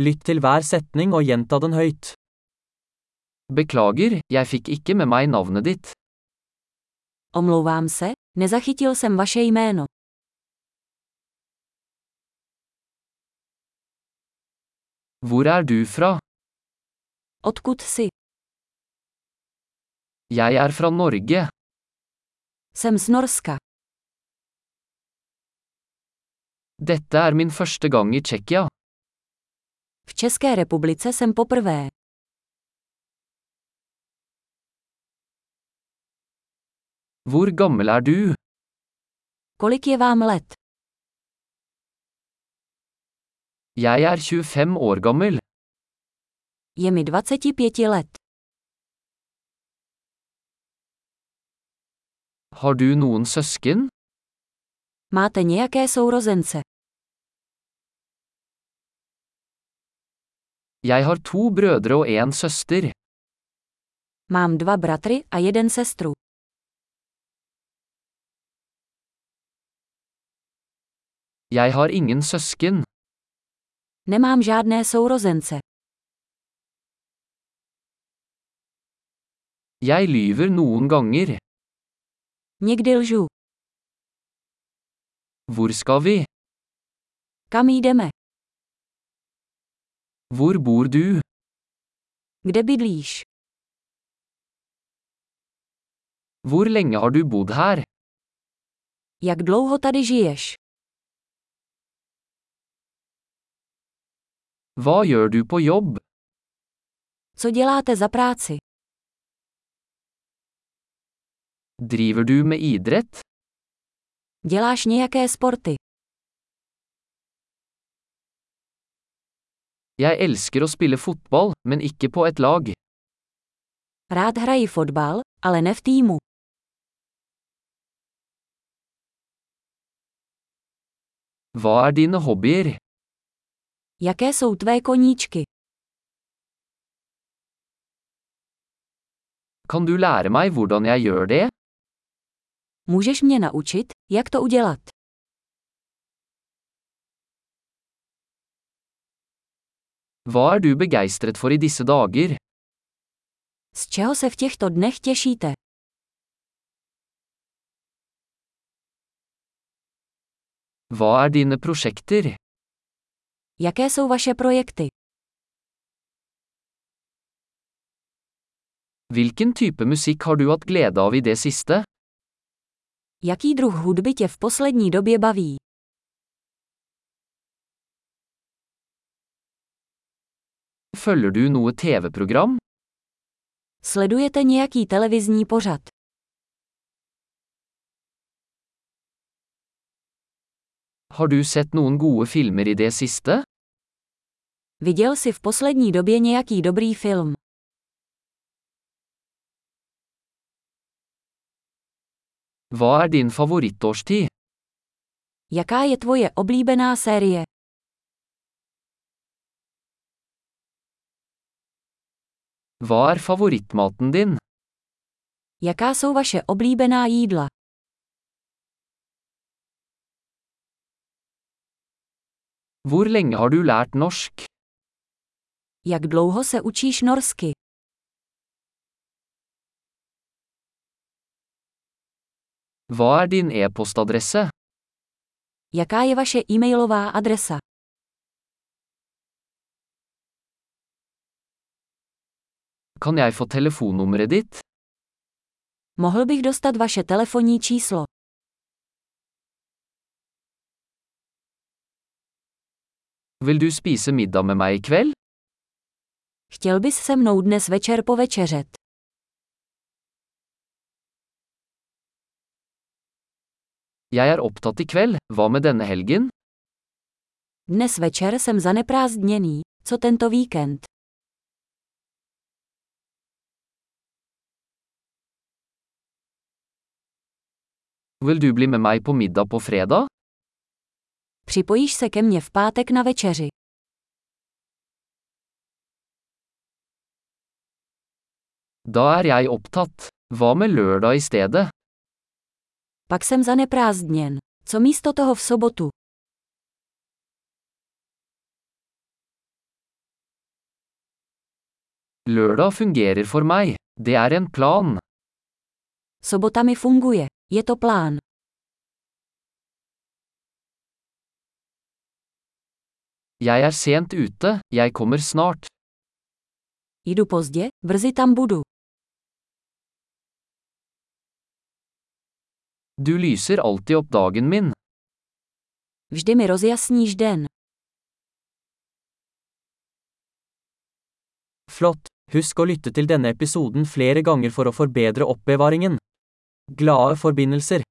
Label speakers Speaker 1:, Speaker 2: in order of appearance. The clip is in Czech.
Speaker 1: Lytt til hver setning og gjenta den høyt.
Speaker 2: Beklager, jeg fikk ikke med meg navnet ditt.
Speaker 3: Omlouvám se, nezachytil jsem vaše jméno.
Speaker 2: Hvor er du fra?
Speaker 3: Odkud jsi?
Speaker 2: Jeg er fra Norge.
Speaker 3: Jsem z Norska.
Speaker 2: Dette er min første gang i Tsjekkia.
Speaker 3: V České republice jsem poprvé.
Speaker 2: Hvor gammel er du?
Speaker 3: Kolik je vám let?
Speaker 2: Jeg er 25 år gammel.
Speaker 3: Je mi 25 let.
Speaker 2: Har du noen søsken?
Speaker 3: Máte nějaké sourozence?
Speaker 2: Jeg har to brødre og en søster.
Speaker 3: Mám dva bratry a jeden sestru.
Speaker 2: Jeg har ingen søsken.
Speaker 3: Nemám žádné sourozence.
Speaker 2: Jeg lyver noen ganger.
Speaker 3: Někdy lžu.
Speaker 2: Hvor skal vi?
Speaker 3: Kam jdeme?
Speaker 2: Hvor bor du?
Speaker 3: Kde bydlíš?
Speaker 2: Hvor lenge har du bodd her?
Speaker 3: Jak dlouho tady žiješ?
Speaker 2: Hva gjør du på jobb?
Speaker 3: Co děláte za práci?
Speaker 2: Driver du med idrett?
Speaker 3: Děláš nějaké sporty?
Speaker 2: Jeg elsker å spille fotball, men ikke på et lag.
Speaker 3: Rád hraji fotbal, ale ne v týmu.
Speaker 2: Hva er dine hobbyer?
Speaker 3: Jaké jsou tvé koníčky?
Speaker 2: Kan du lære meg hvordan jeg gjør det?
Speaker 3: Můžeš mě naučit, jak to udělat?
Speaker 2: Hva er du begeistret for i disse dager?
Speaker 3: Z čeho se v těchto dnech těšíte?
Speaker 2: Hva er dine prosjekter?
Speaker 3: Jaké jsou vaše projekty?
Speaker 2: Hvilken type musikk har du hatt glede av i det siste?
Speaker 3: Jaký druh hudby tě v poslední době baví?
Speaker 2: Følger du noe TV-program?
Speaker 3: Sledujete nějaký televizní pořad?
Speaker 2: Har du sett noen gode filmer i det siste?
Speaker 3: Viděl jsi v poslední době nějaký dobrý film?
Speaker 2: Hva er din favorittårstid?
Speaker 3: Jaká je tvoje oblíbená série?
Speaker 2: Hva er favorittmaten din?
Speaker 3: Jaká jsou vaše oblíbená jídla?
Speaker 2: Hvor lenge har du lært norsk?
Speaker 3: Jak dlouho se učíš norsky?
Speaker 2: Hva er din e-postadresse?
Speaker 3: Jaká je vaše e-mailová adresa?
Speaker 2: Kan jeg få telefonnummeret ditt?
Speaker 3: Mohl bych dostat vaše telefonní číslo?
Speaker 2: Vil du spise middag med meg i kveld?
Speaker 3: Chtěl bys se mnou dnes večer povečeřet?
Speaker 2: Jeg er opptatt i kveld, hva med denne helgen?
Speaker 3: Dnes večer jsem zaneprázdněný, co tento víkend?
Speaker 2: Vil du bli med meg på middag på fredag?
Speaker 3: Připojíš se ke mně v pátek na večeři.
Speaker 2: Da er jeg opptatt. Hva med lørdag i stedet?
Speaker 3: Pak jsem zaneprázdněn. Co místo toho v sobotu?
Speaker 2: Lørdag fungerer for meg. Det er en plan.
Speaker 3: Sobota mi funguje. Je to plán.
Speaker 2: Jeg er sent ute, jeg kommer snart.
Speaker 3: Jdu pozdě, brzy tam budu.
Speaker 2: Du lyser alltid opp dagen min.
Speaker 3: Vždy mi rozjasníš den.
Speaker 1: Flott! Husk å lytte til denne episoden flere ganger for å forbedre oppbevaringen. Glade forbindelser!